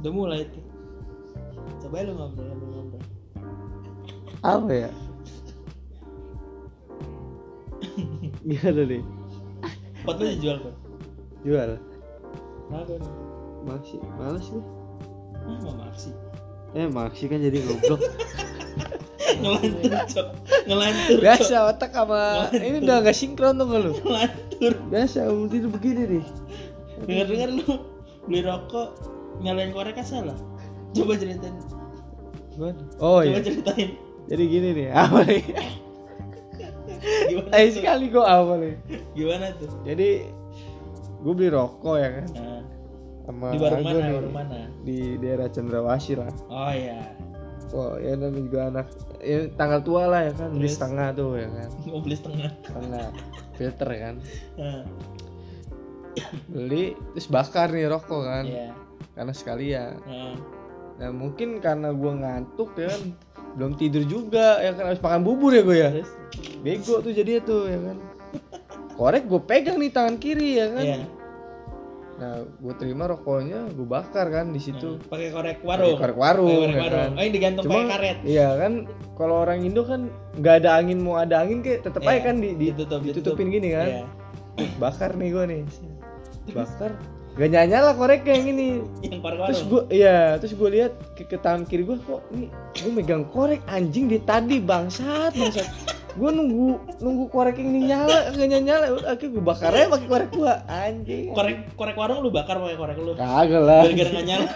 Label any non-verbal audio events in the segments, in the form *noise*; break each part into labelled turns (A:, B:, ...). A: udah mulai itu coba lu ngobrol ngobrol ngobrol
B: apa ya *laughs* gimana nih
A: pot lu dijual pot
B: jual
A: kenapa emang?
B: maksi males gue
A: ah nggak maksi
B: eh maksi kan jadi goblok
A: ngelantur cok ngelantur Cok.
B: *laughs* Iya. biasa otak sama ini udah gak sinkron tuh lu
A: ngelantur
B: biasa umum tidur begini nih
A: dengar dengar lu beli rokok nyalain korek kan salah coba ceritain
B: Gimana? oh
A: coba
B: iya *laughs*
A: ceritain
B: jadi gini nih apa nih
A: gimana
B: *laughs* Lain
A: tuh?
B: sekali gue apa nih
A: gimana tuh
B: jadi gue beli rokok ya kan
A: nah,
B: sama
A: di warung
B: gua
A: mana
B: nih,
A: warung mana
B: di daerah Cendrawasih lah
A: oh ya
B: oh ya namanya juga anak ya, tanggal tua lah ya kan beli
A: Terus?
B: setengah tuh ya kan
A: mau beli setengah
B: setengah filter kan
A: Nah,
B: beli terus bakar nih rokok kan
A: ya
B: karena sekalian
A: nah,
B: nah mungkin karena gue ngantuk ya kan belum tidur juga ya kan habis makan bubur ya gue ya
A: terus
B: bego tuh jadi tuh ya kan korek gue pegang nih tangan kiri ya kan
A: ya
B: nah gue terima rokoknya gue bakar kan di situ
A: nah, pakai korek warung
B: Pakai korek warung,
A: Pakai korek
B: ya
A: warung.
B: kan.
A: oh yang digantung
B: Cuma-
A: pakai karet
B: Iya kan, kalau orang Indo kan nggak ada angin mau ada angin kayak tetep
A: Iya,
B: aja kan di, di-
A: ditutup,
B: ditutupin gini kan.
A: Iya.
B: Bakar nih gua nih. Bakar. Gak nyala koreknya yang ini.
A: yang korek
B: Terus
A: warung
B: gua iya, terus gua lihat ke, ke tangan kiri gua kok nih gua megang korek anjing di tadi bangsat bangsat. Gua nunggu nunggu korek yang ini nyala, gak nyala. Akhirnya gua bakar aja pakai korek gua anjing.
A: korek korek warung lu bakar pakai korek lu
B: Kagak lah.
A: gara-gara nggak
B: *laughs*
A: nyala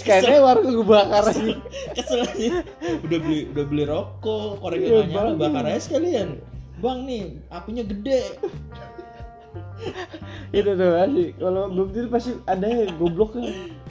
B: Kayaknya warung gua bakar aja.
A: kesel aja udah beli udah beli rokok korek
B: Iya,
A: nggak nyala
B: bang.
A: bakar aja sekalian bang nih apinya gede
B: Itu tuh asik. Kalau belum tidur pasti ada ya gobloknya.